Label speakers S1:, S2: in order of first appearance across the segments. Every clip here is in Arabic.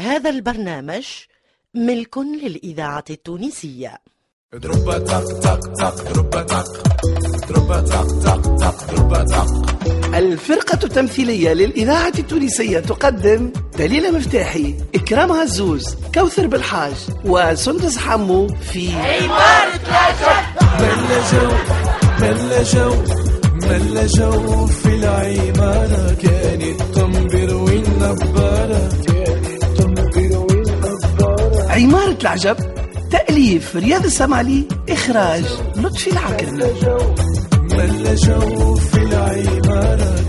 S1: هذا البرنامج ملك للإذاعة التونسية
S2: دروبا تق تق تق دروبا تق دروبا تق تق تق دروبا تق
S3: الفرقة التمثيلية للإذاعة التونسية تقدم دليلة مفتاحي إكرام عزوز كوثر بالحاج وسندس حمو في
S2: ملا جو ملا جو ملا جو في العمارة كانت تنبر والنبارة كانت تنبر والنبارة
S3: عمارة العجب تأليف رياض السمعلي إخراج لطفي العكرمة
S2: ملا جو في العمارة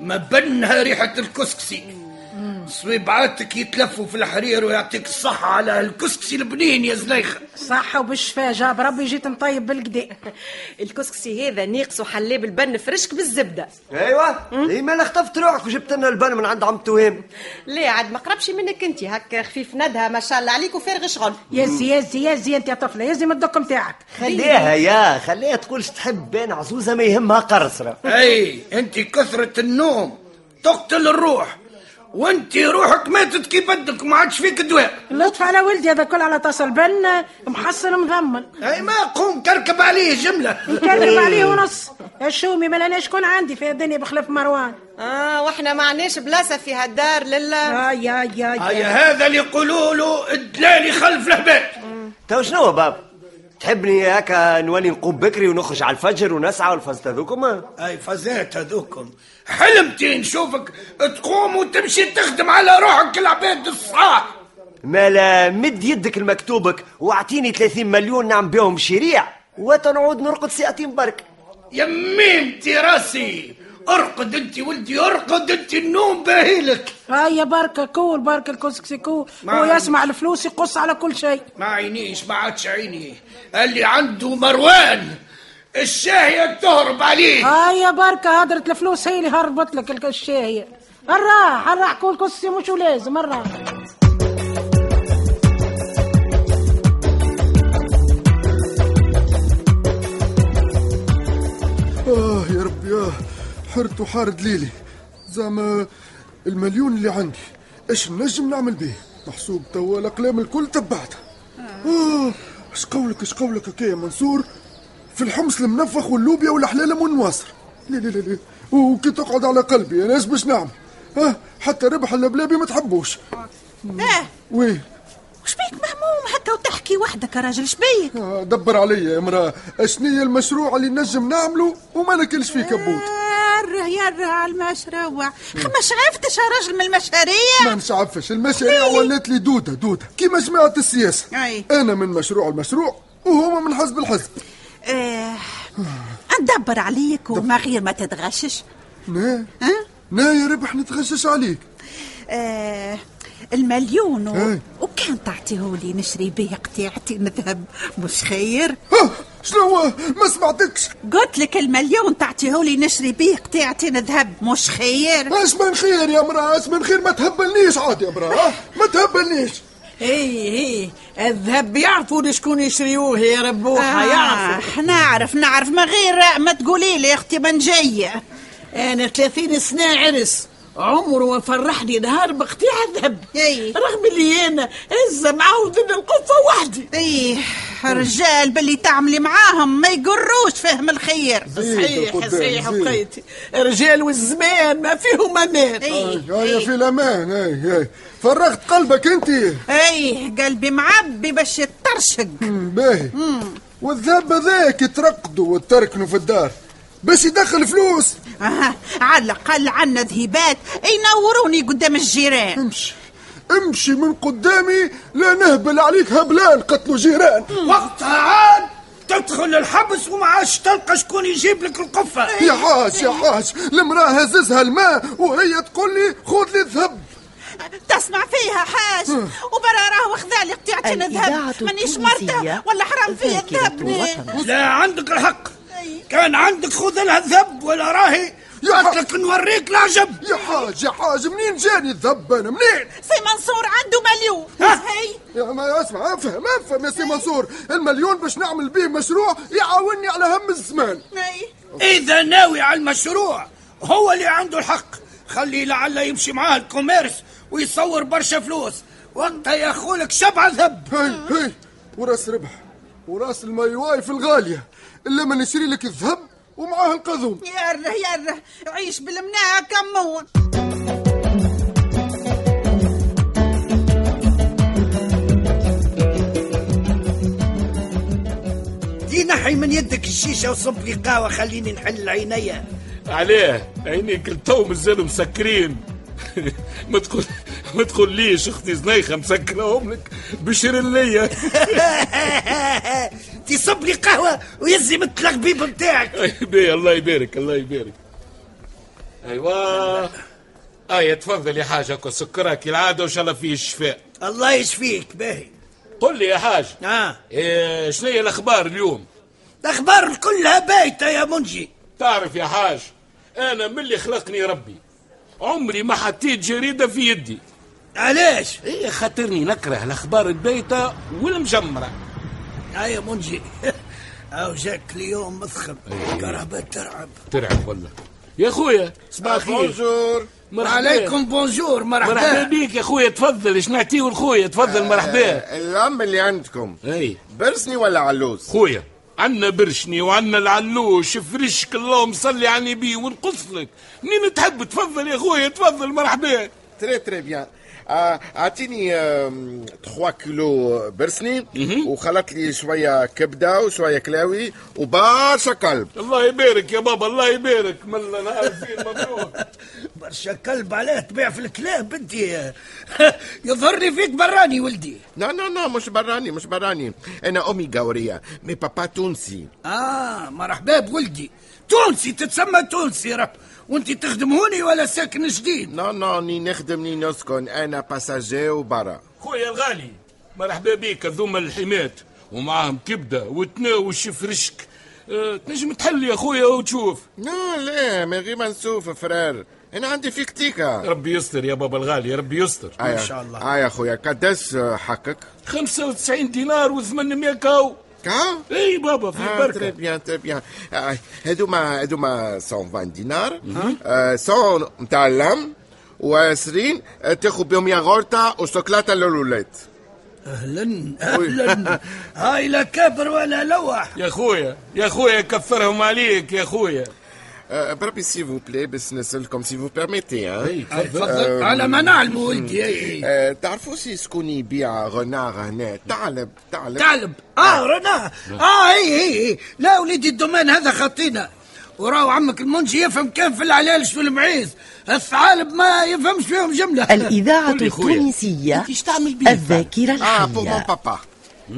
S4: ما بنها ريحة الكسكسي صبيعاتك يتلفوا في الحرير ويعطيك الصحة على الكسكسي البنين يا زليخة
S5: صحة وبالشفاء جاب ربي جيت مطيب بالكدا
S6: الكسكسي هذا ناقص وحلاب البن فرشك بالزبدة
S7: ايوه اي ما انا خطفت روحك وجبت لنا البن من عند عم توام
S6: لا عاد ما قربش منك انت هكا خفيف ندها ما شاء الله عليك وفارغ شغل
S5: يازي يازي يازي انت يا طفلة يازي من الدك نتاعك
S7: خليها يا خليها تقولش تحب بان عزوزه ما يهمها قرصره
S4: اي انت كثرة النوم تقتل الروح وانت روحك ماتت كي بدك ما عادش فيك دواء
S5: اللطف على ولدي هذا كل على طاس البن محصل مضمن
S4: اي ما قوم تركب عليه جملة
S5: نكلم عليه ونص الشومي ما لناش شكون عندي في الدنيا بخلاف مروان
S8: آه،
S6: اه واحنا ما عناش بلاصة في هالدار لله
S5: آه يا يا
S4: هيا
S5: يا
S4: هذا اللي يقولوا له الدلالي خلف الهبال
S7: تو شنو باب تحبني هكا نولي نقوم بكري ونخرج على الفجر ونسعى والفز هذوكم
S4: اي فزات هذوكم حلمتي نشوفك تقوم وتمشي تخدم على روحك العباد الصحاح
S7: مالا مد يدك لمكتوبك واعطيني 30 مليون نعم بهم شريع وتنعود نرقد ساعتين برك
S4: يميمتي راسي ارقد انت ولدي ارقد انت النوم باهيلك
S5: آه يا بركة كول بركة الكسكسي كول
S4: ما
S5: هو
S4: عندي.
S5: يسمع الفلوس يقص على كل شيء
S4: ما عينيش ما عادش عيني اللي عنده مروان الشاهية تهرب عليه
S5: آه يا بركة هدرة الفلوس هي اللي هربت لك الك- الشاهية الراح الراح كول كسكسي مش ولازم الراح
S9: آه يا ربي آه حرت وحارد ليلي زعما المليون اللي عندي اش نجم نعمل بيه محسوب توا الاقلام الكل تبعتها آه اش قولك اش قولك هكا يا منصور في الحمص المنفخ واللوبيا والحلالم والنواصر لا لا لا لا وكي تقعد على قلبي انا اش باش نعمل ها حتى ربح اللبلابي ما تحبوش
S8: اه
S9: ويه
S8: وش بيك مهموم هكا وتحكي وحدك يا راجل شبيك
S9: آه، دبر عليا يا امراه اشنية المشروع اللي نجم نعمله وما ناكلش فيه كبوت
S8: يره يره على المشروع خما شعفتش يا راجل من
S9: ما
S8: المشاريع
S9: نشعفش المشاريع ولات لي دودة دودة كيما جماعة السياسة
S8: أي.
S9: أنا من مشروع المشروع وهما من حزب الحزب
S8: آه، ندبر عليك وما غير ما تتغشش
S9: نا
S8: ها؟
S9: نا يا ربح نتغشش عليك
S8: آه، المليون و...
S10: إيه.
S9: أي.
S8: وكان تعطيهولي نشري به قطيعتي نذهب مش خير
S9: ها شنو هو؟ ما سمعتكش
S8: قلت لك المليون تعطيهولي نشري به قطيعتي نذهب مش خير
S9: اش من خير يا مرأة اش من خير ما تهبلنيش عاد يا مرأة ها؟ ما تهبلنيش
S8: إيه،
S10: اي اي الذهب يعرفوا لشكون يشريوه يا ربوحه آه. يعرفوا
S8: آه نعرف نعرف ما غير ما تقولي لي يا اختي من جايه
S10: انا 30 سنه عرس عمره ما فرحني نهار بقطيع ذهب
S8: إي.
S10: رغم اللي انا هزه معاود القفه وحدي
S8: ايه رجال باللي تعملي معاهم ما يقروش فهم الخير
S10: صحيح
S9: القدام،
S10: صحيح
S9: زيد.
S10: بقيتي رجال والزمان ما فيهم امان
S8: ايه
S9: يا يا في الأمان أي أي فرغت قلبك أنت
S8: ايه قلبي معبي باش يطرشق
S9: مم، باهي والذهب هذاك يترقدوا وتركنوا في الدار باش يدخل فلوس
S8: آه على الاقل عنا ذهبات ينوروني قدام الجيران
S9: امشي امشي من قدامي لا نهبل عليك هبلان قتلوا جيران
S4: وقتها عاد تدخل الحبس وما عادش تلقى شكون يجيب لك القفة
S9: يا حاج يا حاج المراه هززها الماء وهي تقول لي خذ لي ذهب
S8: تسمع فيها حاج وبرا راه وخذالي قطيعتي
S1: الإذاعة
S8: نذهب مانيش مرتها
S1: التونسية
S8: ولا حرام فيا
S1: ذاكرة
S8: الذهب
S1: الوطن.
S4: لا عندك الحق كان عندك خذ لها الذب ولا راهي
S9: يا حق.
S4: قلت لك نوريك العجب
S9: يا حاج يا حاج منين جاني الذب انا منين
S8: سي منصور عنده مليون
S4: ها.
S8: هي
S9: يا ما اسمع افهم افهم يا سي منصور المليون باش نعمل بيه مشروع يعاوني على هم الزمان
S8: هي
S4: اذا ناوي على المشروع هو اللي عنده الحق خلي لعله يمشي معاه الكوميرس ويصور برشا فلوس وقتها يا خولك شبع ذب
S9: هي هي وراس ربح وراس المايواي في الغالية إلا ما نشري لك الذهب ومعاه القذوم
S8: يا ره يا ره عيش بالمناعة كمون
S4: دي نحي من يدك الشيشة وصب لي قهوة خليني نحل عينيا
S11: عليه عينيك التو مازالوا مسكرين ما تقول ما تقوليش اختي زنيخه مسكرهم لك بشرليه
S4: تصب لي قهوة ويزي من التلقبيب نتاعك
S11: بيه طيب، الله يبارك الله يبارك ايوا اي تفضل آية، يا حاج هكا سكرك العاده وان شاء الله فيه الشفاء
S4: الله يشفيك باهي
S11: قل لي يا حاج
S4: اه
S11: إيه شنو هي الاخبار اليوم
S4: الاخبار كلها بايته يا منجي
S11: تعرف يا حاج انا ملي خلقني ربي عمري ما حطيت جريده في يدي
S4: علاش
S11: ايه خاطرني نكره الاخبار البايته والمجمره
S4: هيا منجي او جاك اليوم مضخم كرهبة ترعب
S11: ترعب ولا يا خويا صباح الخير
S4: بونجور
S11: مرحبا.
S4: عليكم بونجور مرحبا
S11: مرحبا بيك يا خويا تفضل اش نعطيه لخويا تفضل
S4: آه.
S11: مرحبا
S12: اللمب اللي عندكم
S11: اي
S12: برسني ولا علوز
S11: خويا عنا برشني وعنا العلوش فرشك اللهم صلي على النبي ونقص لك منين تحب تفضل يا خويا تفضل مرحبا
S12: تري تري بيان آه، اعطيني 3 كيلو برسني وخلط لي شويه كبده وشويه كلاوي وبرشا قلب
S11: الله يبارك يا بابا الله يبارك ملا انا عارفين مبروك
S4: برشا كلب عليه تبيع في الكلاب بدي يظهرني فيك براني ولدي
S12: لا لا لا مش براني مش براني انا امي قوريه مي بابا تونسي
S4: اه مرحبا بولدي تونسي تتسمى تونسي رب وانت تخدموني ولا ساكن جديد
S12: لا لا ني نخدم ني نسكن انا باساجي وبرا
S11: خويا الغالي مرحبا بيك هذوما الحمات ومعاهم كبده وتناوش فرشك أه، تنجم تحل يا خويا وتشوف
S12: لا لا من غير ما نشوف فرير انا عندي فيك تيكا
S11: ربي يستر يا بابا الغالي ربي يستر
S12: آية. آه يا خويا قداش آه، حقك
S11: 95 دينار و800 كاو
S12: كاو
S11: اي بابا في
S12: آه، تري
S11: بركه
S12: بيان تري بيان آه، هذوما هذوما 120 دينار آه، 100 نتاع اللام و20 تاخذ بهم ياغورتا وشوكولاته للولاد
S4: اهلا اهلا هاي لا كبر ولا لوح
S11: يا خويا يا خويا كفرهم عليك يا خويا
S12: آه، بربي سي فو بلي باش نسالكم سي فو بيرميتي ها
S4: هاي تفضل على إيه، ما نعلم ولدي أي.
S12: آه، تعرفوا سي شكون يبيع غنار هنا ثعلب ثعلب
S4: ثعلب اه رنا
S11: نعم.
S4: اه اي اي اي لا وليدي الدومين هذا خطينا وراو عمك المنجي يفهم كان في العلالش والمعيز الثعالب ما يفهمش فيهم جمله
S1: الإذاعة التونسية الذاكرة
S8: آه،
S12: اه بور مون
S1: الحية
S12: بابا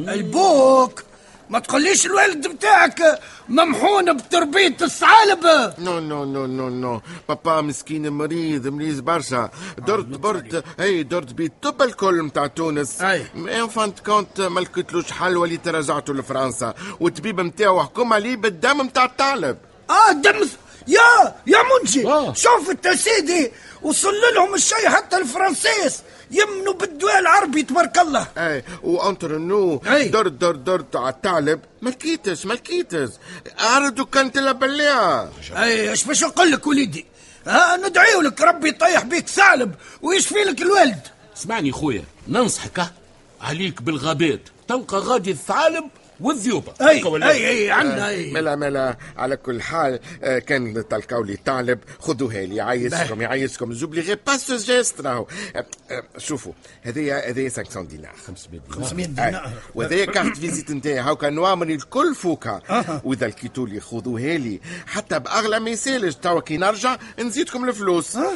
S4: البوك ما تقوليش الوالد بتاعك ممحون بتربية الثعالب
S12: نو نو نو نو نو بابا مسكين مريض مريض برشا درت برد اي درت بيه الطب الكل نتاع تونس
S4: أي.
S12: مي ان فانت كونت ما لقيتلوش حل وليت رجعته لفرنسا والطبيب نتاعو حكم عليه بالدم نتاع الثعلب
S4: اه دم يا يا منجي شوف انت سيدي وصل لهم الشيء حتى الفرنسيس يمنوا بالدواء العربي تبارك الله
S12: اي وانتر نو
S4: أي.
S12: درت درت درت على الثعلب ما لقيتش ما لقيتش عرض وكانت لا بلاها
S4: اي اش باش نقول لك وليدي ها ندعيو لك ربي يطيح بيك ثعلب ويشفي لك الوالد
S11: اسمعني خويا ننصحك أه، عليك بالغابات تلقى غادي الثعالب والذيوبه
S4: اي
S11: هكا ولا؟
S4: اي اي عندنا اي
S12: ملا ملا على كل حال آه، كان تلقاو لي ثعلب خذوها لي يعيشكم يعيشكم زوبليغي با سو جيست راهو آه، آه، شوفوا هذايا هذايا 500 دينار آه،
S4: 500 دينار
S12: وهذايا كارت فيزيت نتاعي هاكا نوامري الكل فوكا واذا لقيتوا لي خذوها لي حتى باغلى ما يسالش توا كي نرجع نزيدكم الفلوس
S4: أه؟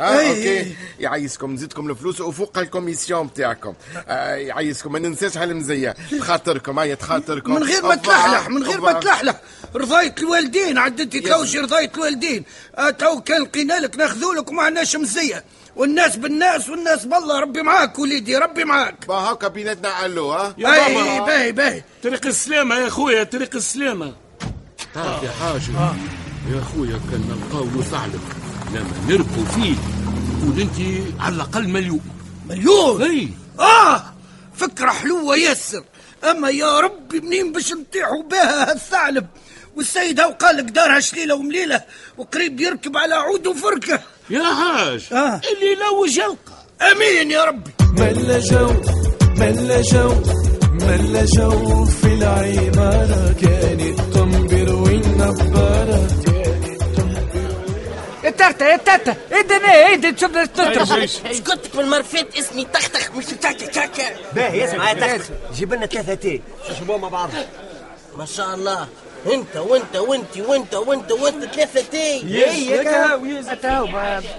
S12: اه
S4: أي،
S12: اوكي
S4: أي.
S12: يعيشكم نزيدكم الفلوس وفوق الكوميسيون بتاعكم آه يعيشكم ما ننساش هالمزيه تخاطركم هيا
S11: أه.
S12: تخاطركم
S4: من غير ما
S12: أفا-
S4: تلحلح من غير ما
S12: أفا.
S4: تلحلح رضاية الوالدين عاد انت تلوجي رضاية الوالدين آه، تو كان لقينا لك ناخذوا لك وما عندناش مزيه والناس بالناس والناس بالله ربي معاك وليدي ربي معاك
S12: با هاكا بيناتنا الو ها
S11: يا
S4: اي
S11: بابا
S4: باهي باهي
S11: طريق السلامه يا خويا طريق السلامه تعرف يا حاجه يا خويا كان نلقاو له ثعلب لما نركو فيه قول انت على الاقل مليون
S4: مليون
S11: اي
S4: آه فكرة حلوة ياسر أما يا ربي منين باش نطيحوا بها هالثعلب والسيد هو قال لك دارها شليلة ومليلة وقريب يركب على عود وفركة
S11: يا حاج
S4: آه. اللي يلوج يلقى امين يا ربي
S2: ملا جو ملا جو ملا جو في العمارة كان التنبر والنبارة
S13: الترتة يا الترتة ادنا ادي تشد تضرب
S14: سكتك بالمرفات اسمي تختخ مش تكا تكا
S7: باهي اسمع يا تختخ جيب لنا ثلاثة تي نشربوها مع بعض
S14: ما شاء الله انت وانت وانت وانت وانت وانت ثلاثة تي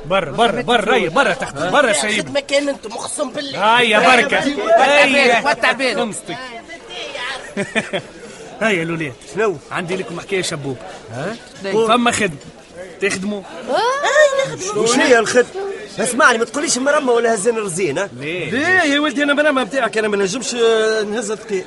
S13: برا برا برا أي برا تحت
S14: آه.
S13: برا سيب
S14: خدمة كان انتم اقسم بالله
S13: هيا بركة هيا
S14: وتع بالك.
S13: أمستك. هيا لوليت شنو عندي لكم حكاية شبوب ها
S7: شنو؟
S13: فما خدمة تخدموا
S7: وشنو هي الخدمة اسمعني ما تقوليش مرمى ولا هزين رزين ها ليه ليه يا ولدي انا مرمى بتاعك انا ما نجمش آه، نهز دقيق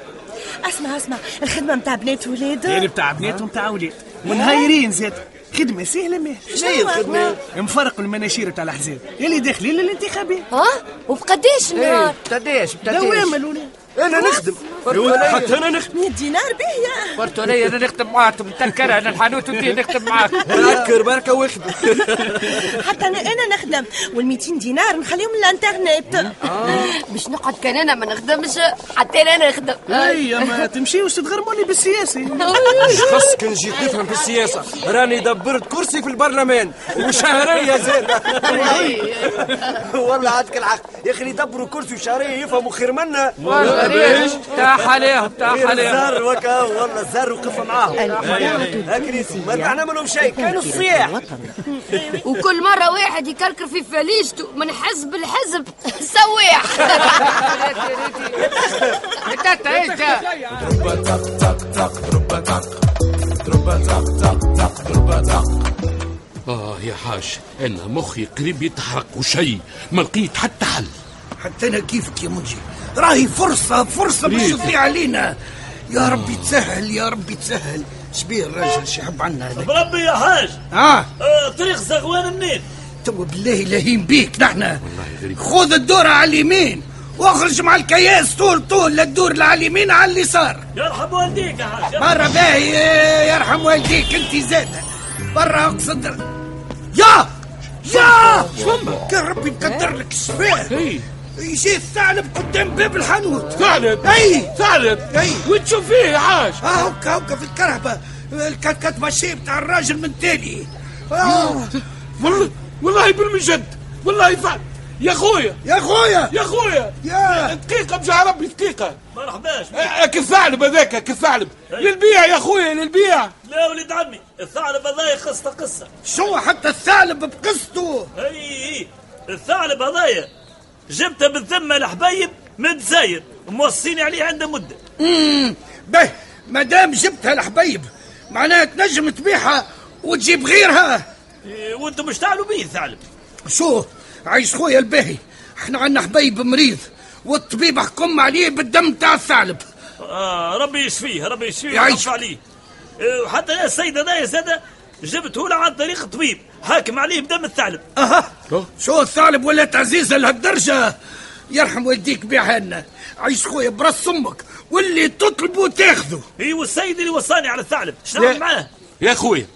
S15: اسمع اسمع الخدمه نتاع بنات ولاد
S13: اللي يعني بتاع بنات ومتاع ولاد ونهايرين زاد خدمة سهلة ما
S15: شنو هي الخدمة؟
S13: نفرقوا المناشير بتاع الأحزاب اللي داخلين للانتخابات
S15: ها وبقداش
S13: نعم.
S15: النهار
S13: بتداش
S15: دوامة
S13: دوامة
S15: الولاد
S7: انا نخدم
S13: حتى انا نخدم
S15: 100 دينار باهية
S13: برتولية انا نخدم معاكم متنكرها انا الحانوت ودي نخدم معاكم
S7: بركة بركة واخد
S15: حتى انا انا نخدم وال 200 دينار نخليهم للانترنت
S16: باش نقعد كان انا ما نخدمش حتى انا نخدم
S13: هيا ما تمشيوش تتغرموني بالسياسة
S16: إيش
S13: خصك
S7: نجي نفهم في السياسة راني دبرت كرسي في البرلمان وشهرية زاد والله عندك الحق يا اخي اللي يدبروا كرسي وشهرية يفهموا خير منا
S13: والله ليش؟ تاع حلاهم، تاع
S7: غير
S13: حلاهم.
S7: الزر وكا والله الزر وقف معاهم هكريسي ما رجعنا منهم شيء كانوا الصياح
S16: وكل مرة واحد يكلكر في فليشته من حزب لحزب سواح
S13: تاتا ايه تا
S11: آه يا حاج أنا مخي قريب يتحرق وشي ما لقيت حتى حل
S4: حتى أنا كيفك يا منجي راهي فرصة فرصة باش
S11: ليه؟
S4: تضيع علينا يا ربي تسهل يا ربي تسهل شبيه الراجل شي يحب عنا هذا
S17: بربي يا حاج
S4: اه
S17: آه، طريق زغوان منين
S4: تو بالله لاهين بيك نحنا خذ الدورة على اليمين واخرج مع الكياس طول طول لا تدور لا على اليمين على اليسار
S17: يرحم والديك يا حاج
S4: برا باهي آه، يرحم والديك انت زاد برا اقصد يا يا فما كان ربي مقدر لك الشفاه يجي الثعلب قدام باب الحانوت
S11: ثعلب
S4: اي
S11: ثعلب
S4: اي
S11: وتشوف فيه إيه يا حاج
S4: اه هكا هكا في الكرهبه الكتكت ماشي بتاع الراجل من تالي آه.
S11: والله والله بالمجد والله فعل يا خويا
S4: يا خويا
S11: يا خويا
S4: يا
S11: دقيقة بجع ربي دقيقة
S17: مرحباش
S11: آه، كالثعلب هذاك كالثعلب للبيع يا خويا للبيع
S17: لا ولد عمي الثعلب هذايا قصة قصة
S4: شو حتى الثعلب بقصته
S17: اي اي الثعلب هذايا جبته بالذمة الحبايب من زايد موصيني عليه عنده مدة
S4: امم به مادام جبتها الحبيب معناها تنجم تبيعها وتجيب غيرها
S17: إيه، وانتم مش تعالوا بيه الثعلب
S4: شو عايش خويا الباهي احنا عندنا حبيب مريض والطبيب حكم عليه بالدم تاع الثعلب
S17: آه ربي يشفيه ربي يشفيه
S4: يعيش.
S17: ويعفو عليه آه، وحتى يا السيد هذايا زاد جبته له عن طريق طبيب حاكم عليه بدم الثعلب
S4: اها شو الثعلب ولات عزيزه لهالدرجه يرحم والديك بيعها لنا عيش خويا براس امك واللي تطلبه تاخذه
S17: اي إيه، والسيد اللي وصاني على الثعلب شنو نعمل معاه؟ آه.
S11: يا خويا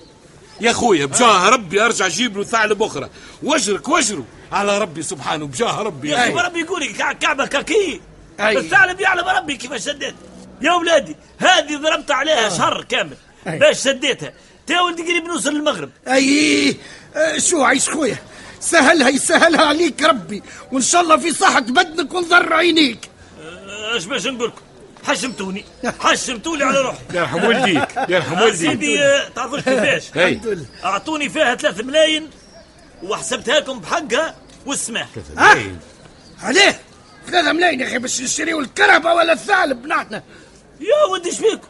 S11: يا خويا بجاه ربي ارجع جيب له ثعلب اخرى واجرك واجره على ربي سبحانه بجاه ربي
S17: يا
S11: يا
S17: اخي
S11: خويا.
S17: ربي يقول لك كع- كعبه كاكي
S11: أي.
S17: الثعلب يعلم ربي كيفاش شديت يا ولادي هذه ضربت عليها شهر كامل
S4: أي.
S17: باش شديتها تا ولدي قريب نوصل للمغرب
S4: اي آه، شو عيش خويا سهلها يسهلها عليك ربي وان شاء الله في صحه بدنك ونظر عينيك
S17: آه، اش باش نقول لكم حشمتوني حشمتوني على روحي
S11: يرحم والديك، يرحم
S17: آه،
S11: والديك.
S17: سيدي آه، تعرفوش كيفاش
S11: أي. الحمد لله.
S17: اعطوني فيها 3 ملاين وحسبتها لكم بحقها والسماح
S4: ملاين. عليه ثلاثة ملايين يا اخي باش نشريو الكرهبة ولا الثعلب نحن
S17: يا ودي اش بيكم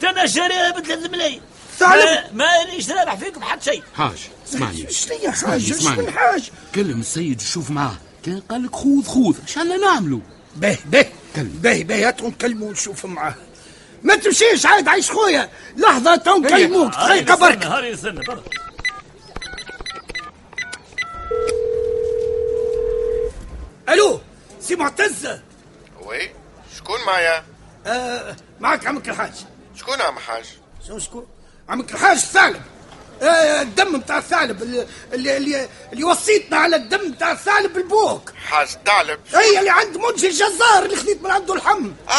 S17: تنا شاريها ب 3 ملايين
S4: ثعلب؟
S17: ما- مانيش رابح فيكم حتى شيء
S11: حاج اسمعني
S4: شنو يا
S11: اسمعني،
S4: حاج؟
S11: اسمعني.
S4: شنو الحاج؟
S11: كلم السيد وشوف معاه كان قال لك خوذ خوذ اش عندنا نعملوا
S4: به به به به هاتوا نكلموا ونشوفوا معاه ما تمشيش عاد عايش خويا لحظة تو نكلموك دقيقة برك
S17: هاري استنى برك
S4: الو سي معتزة
S12: وي شكون معايا؟
S4: آه معك عمك الحاج
S12: شكون عم حاج؟
S4: شنو شكون؟ عمك الحاج الثعلب آه، الدم نتاع الثعلب اللي, اللي, اللي, اللي وصيتنا على الدم نتاع الثعلب البوك
S12: حاج ثعلب
S4: هي اللي عند منجي الجزار اللي خذيت من عنده اللحم
S12: اه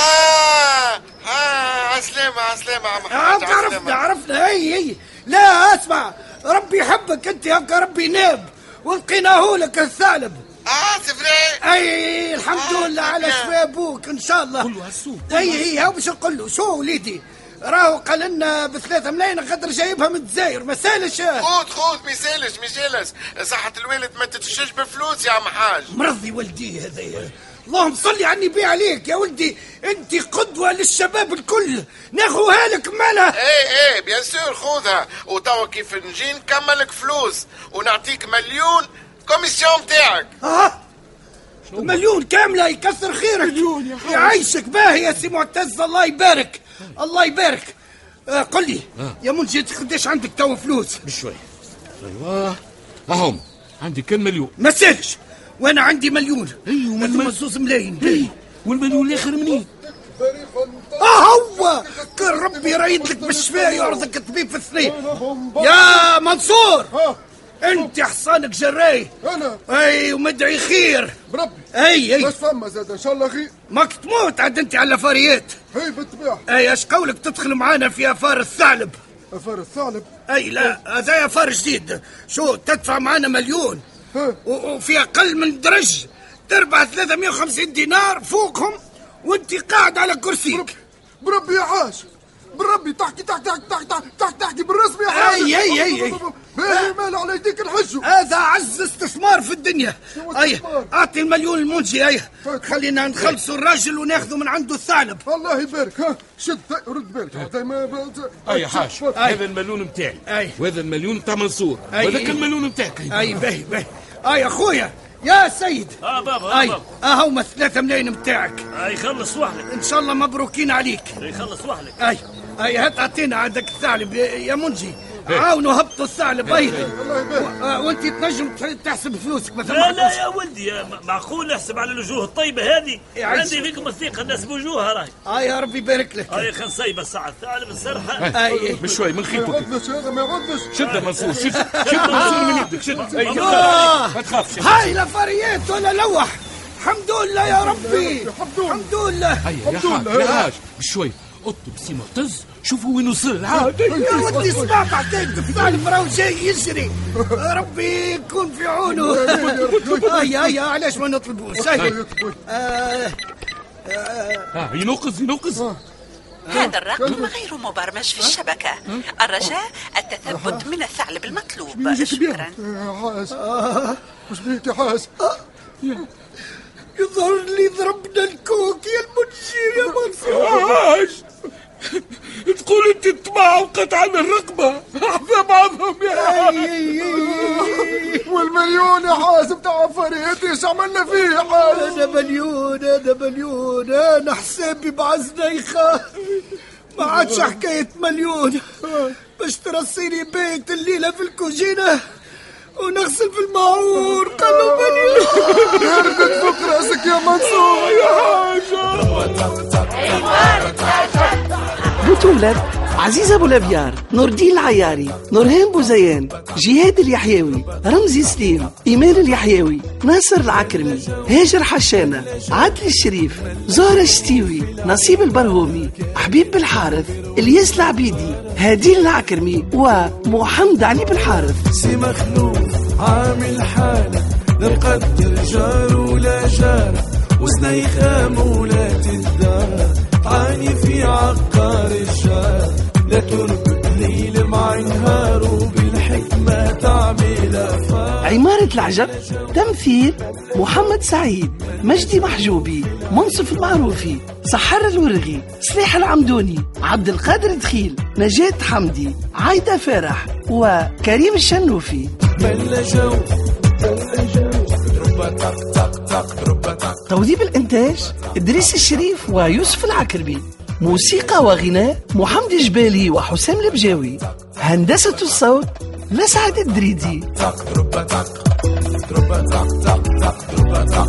S12: اه عسلامة عسلامة عم حاج
S4: آه، عرفنا عرفنا هي هي لا اسمع ربي يحبك انت هكا ربي ناب ولقيناه لك الثعلب
S12: اه سفري
S4: اي الحمد لله على شفاء ابوك ان شاء الله آه، كله اي اي هاو باش نقول له شو وليدي راهو قال لنا بثلاثة ملايين خاطر جايبها من الجزائر ما سالش
S12: خود خود ما يسالش ما يسالش صحة الوالد ما تتشجش بفلوس يا عم حاج
S4: مرضي ولدي هذايا اللهم صلي على النبي عليك يا ولدي انت قدوه للشباب الكل ناخوها لك مالها
S12: ايه ايه بيان سور خذها وتوا كيف نجي نكملك فلوس ونعطيك مليون كوميسيون تاعك
S4: اه مليون كاملة يكسر خيرك مليون يا يعيشك باهي يا سي معتز الله يبارك الله يبارك آه قل لي
S11: آه.
S4: يا منجي أنت قداش عندك تو فلوس
S11: بشوي ايوا اهم عندي كان مليون
S4: ما سالش وانا عندي مليون ايوه زوز ملايين والمليون الاخر منين اه هو كان ربي يريد لك بالشفاء يعرضك طبيب في الثنين يا منصور انت حصانك جراي
S9: انا
S4: اي ومدعي خير
S9: بربي
S4: اي اي
S9: بس فما زاد ان شاء الله خير
S4: ماك تموت عاد انت على فاريات
S9: هي بالطبيعه
S4: اي اش قولك تدخل معانا في افار الثعلب
S9: افار الثعلب
S4: اي لا هذا افار جديد شو تدفع معانا مليون و- وفي اقل من درج تربح 350 دينار فوقهم وانت قاعد على كرسيك
S9: بربي يا حاج بربي تحكي تحكي تحكي تحكي تحكي تحكي, تحكي بالرسم يا حاج
S4: اي اي اي اي
S9: باهي مال على يديك نحجو
S4: هذا اعز استثمار في الدنيا اي
S9: استثمار؟ طيب.
S4: اعطي المليون المنجي اي خلينا نخلصوا الراجل وناخذوا من عنده الثعلب
S9: الله يبارك ها شد ذا- رد بالك هذا ما ما-
S11: اي حاج
S9: أي.
S11: هذا المليون نتاعي
S4: أي.
S11: وهذا المليون نتاع منصور
S4: أي.
S11: وهذاك المليون نتاعك
S4: اي باهي باهي اي اخويا يا سيد
S17: اه بابا
S4: اي
S17: اه بابا
S4: اهو ما الثلاثة ملايين متاعك
S17: آه، يخلص وحدك
S4: ان شاء الله مبروكين عليك
S17: يخلص وحدك
S4: اي اي هات اعطينا عندك الثعلب يا- يا منجي عاونوا هبطوا الثعلب اي
S9: الله يبارك
S4: آه، وانت تنجم تح- تحسب فلوسك ما
S17: لا
S4: ثماش
S17: لا يا ولدي يا م- معقول نحسب على الوجوه الطيبة هذه
S4: يا عيسى.
S17: عندي فيكم الثقة الناس بوجوهها راهي
S4: اه يا ربي يبارك لك
S17: هاي خنصيبة الساعة الثعلب السرحة
S4: اي
S11: بشوي من
S9: ما
S11: خيطك
S9: يغضش هذا ما يغضش
S11: شد يا منصور شد شد منصور من يدك شد أي، شد.
S4: الله.
S11: ما تخافش
S4: آه. هاي لفريات ولا لوح الحمد لله يا ربي
S9: الحمد لله.
S4: الحمد لله
S11: هيا يا
S9: الحمد
S11: حاج
S9: لله.
S11: يا حاج بشوي اطلب سي معتز شوفوا وين وصل عاد
S4: يا ودي سمعت حكاية الثعلب راهو جاي يجري ربي يكون في عونه هيا هيا علاش ما نطلبوش هيا آه،
S11: ها، ينقص ينقص
S18: هذا الرقم غير مبرمج في الشبكة الرجاء التثبت من الثعلب المطلوب
S9: بيجي
S18: شكرا
S9: كبير يا حاج وش بيك يا حاج
S4: أه؟ يظهر لي ضربنا الكوك يا المنشي يا منصور
S11: حاج تقول انت الطماع وقطعنا الرقبه عظم عظم يا
S4: أي- أي- أي.
S9: والمليون يا حاج بتاع فريتي ايش عملنا فيه يا حاج
S4: انا مليون انا مليون انا حسابي مع زنيخة ما عادش حكاية مليون باش ترسيني بيت الليلة في الكوجينة ونغسل في المعور قالوا مليون
S9: فوق راسك يا منصور يا حاج
S3: بطولة عزيزة بولافيار نور الدين العياري نورهان بوزيان جهاد اليحيوي رمزي سليم إيمان اليحيوي ناصر العكرمي هاجر حشانة عادل الشريف زهرة الشتيوي نصيب البرهومي حبيب بالحارث الياس العبيدي هادين العكرمي ومحمد علي بالحارث
S2: سي مخلوف عامل حالة لا مقدر جار ولا جارة وسنيخة مولات الدار عاني في عقار الشارع لا تربط ليل مع نهار وبالحكمة تعمل أفكار
S3: عمارة العجب تمثيل محمد سعيد مجدي محجوبي منصف المعروفي سحر الورغي سلاح العمدوني عبد القادر دخيل نجاة حمدي عايدة فرح وكريم الشنوفي
S2: بلا جو بلا جو تربة تق تق تق تربة تق
S3: توظيف الإنتاج إدريس الشريف ويوسف العكربي موسيقى وغناء محمد جبالي وحسام البجاوي هندسة الصوت لسعد الدريدي
S2: تربة تق تربة تق تق تق تربة تق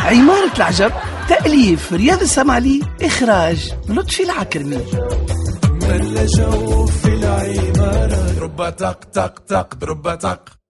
S3: عمارة العجب تأليف رياض السمعلي إخراج لطفي العكرمي
S2: من ملا جو في العمارة ضربة تق تق تق ضربة تق